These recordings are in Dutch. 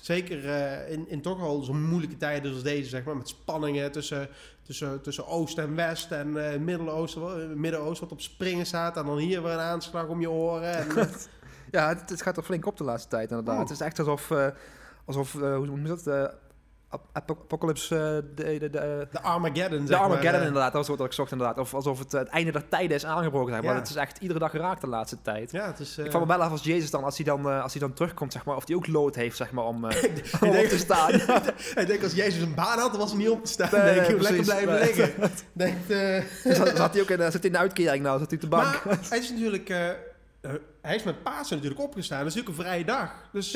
Zeker eh, in, in toch al zo'n moeilijke tijden als deze, zeg maar, met spanningen tussen, tussen, tussen Oost en West en eh Midden-Oosten, wa- eh, Midden-Oosten wat op springen staat. En dan hier weer een aanslag om je oren. En, eh, Ja, het, het gaat er flink op de laatste tijd inderdaad. Oh. Het is echt alsof, eh, alsof eh, hoe noem je dat? Eh, ap- ap- apocalypse, eh, de, de, de, de Armageddon, de zeg maar. Armageddon eh. inderdaad, dat was wat ik zocht inderdaad. Of alsof het, eh, het einde der tijden is aangebroken. Zeg maar. Ja. Het is echt iedere dag geraakt de laatste tijd. Ja, het is... eh, Ik vraag me wel af als Jezus dan, als hij dan, eh, als hij dan terugkomt, zeg maar, of hij ook lood heeft, zeg maar, om, eh, om op denk- te staan. ik denk als Jezus een baan had, dan was hij niet op te staan. Nee, denk nee, ik, lekker precies. blijven Nee. liggen. Denk, eh, zat, zat hij ook in, eh, zit hij in de uitkering nou, zat hij op de bank. Maar hij is natuurlijk... eh, eh, hij is met Pasen natuurlijk opgestaan. Dat is natuurlijk een vrije dag. Dus,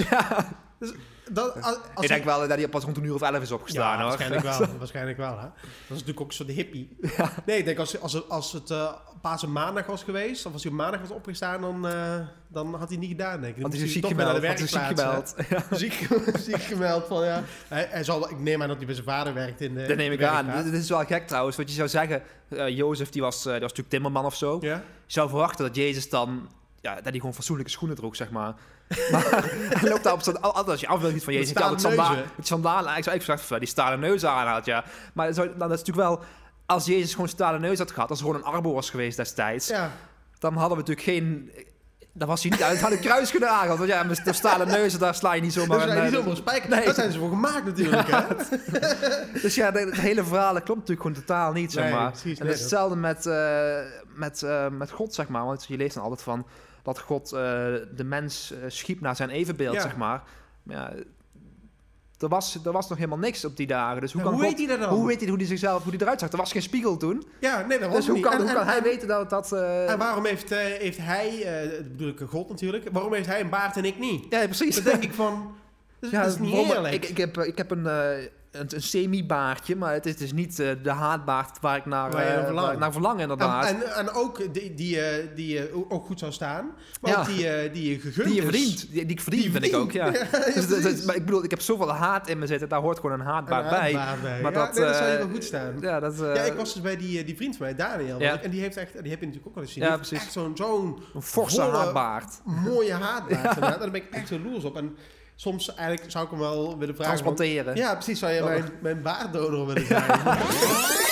dus dat, als, als ik denk wel dat hij pas rond een uur of elf is opgestaan, hoor. waarschijnlijk wel. waarschijnlijk wel hè? Dat is natuurlijk ook een soort hippie. Nee, ik denk als, als, het- als het eh Pasen maandag was geweest, of als hij op maandag was opgestaan, dan, eh, dan had hij het niet gedaan, denk ik. Dan Want hij is moest ziek toch weer naar gemeld, want hij is ziek werkplaats, gemeld. hè. Ziek, ziek gemeld van ja. Hij, hij zal, ik neem aan dat hij bij zijn vader werkt in de. Dat neem ik werkplaats. aan. Dit, dit is wel gek trouwens, want je zou zeggen, eh, Jozef die was, eh, die was natuurlijk timmerman of zo. Ja? Je zou verwachten dat Jezus dan, ja, dat hij gewoon fatsoenlijke schoenen droeg, zeg maar. Maar hij loopt daar op zijn, altijd als je af wil iets van Jezus, Met heeft hij altijd stalen sandalen. neuzen. Met sandalen, ik zou echt verwachten dat die stalen neus aan had, ja. Maar zo, nou, dat is natuurlijk wel, als Jezus gewoon stalen neus had gehad, als er gewoon een arbo was geweest destijds, ja. dan hadden we natuurlijk geen... Dan was hij niet uit, had een kruis gedragen. Want ja, met de stalen neuzen, daar sla je niet zomaar Dus een, hij is eh, helemaal spijker. Nee. Daar zijn ze voor gemaakt natuurlijk. hè? Dus ja, de- het hele verhaal dat klopt natuurlijk gewoon totaal niet, zeg Nee, maar. precies, en nee, dat is hetzelfde met, eh, met, eh, met God, zeg maar. Want je leest dan altijd van dat God eh, de mens eh, schiep naar zijn evenbeeld, Ja. zeg maar. Maar ja, er was, er was nog helemaal niks op die dagen. Dus hoe, Ja, kan hoe God, weet hij dat dan? Hoe weet hij hoe hij zichzelf hoe hij eruit zag? Er was geen spiegel toen. Ja, nee, dat was het Dus hoe niet. kan, En- hoe en- kan hij weten dat dat... eh, En waarom heeft, eh, heeft hij, eh, dat bedoel ik God natuurlijk, waarom heeft hij een baard en ik niet? ja, precies. Dan denk ik van, dat, is- Ja, dat is niet waarom- eerlijk. Ik, ik, heb, eh, ik heb een, eh, een, een semi-baardje, maar het is dus niet eh, de haatbaard waar ik naar, Waar je eh, naar verlangt. waar ik naar verlang en, inderdaad. en, en ook die, die, eh, die eh, ook goed zou staan, maar Ja. ook die, eh, die je gegund Die je is. verdient. Die, die ik verdien, Die vind ik ook, ja. Dus dat- dat- precies. maar ik bedoel, ik heb zoveel haat in me zitten. Daar hoort gewoon een Een haatbaard bij. haatbaard bij. Maar ja, dat, nee, dat zou je eh, wel goed staan. Ja, dat, eh, ja, ik was dus bij die, eh, die vriend van mij, Daniel. Ja. was ik, En die heeft echt, en die heb je natuurlijk ook wel eens gezien. die Ja, heeft precies. Echt zo'n zo'n een forse volle- haatbaard. mooie haatbaard. inderdaad. En daar ben ik echt jaloers op. En soms eigenlijk zou ik hem wel willen vragen. van- Transplanteren. Ja, precies. Zou je Oh. mijn, mijn baarddonor willen zijn?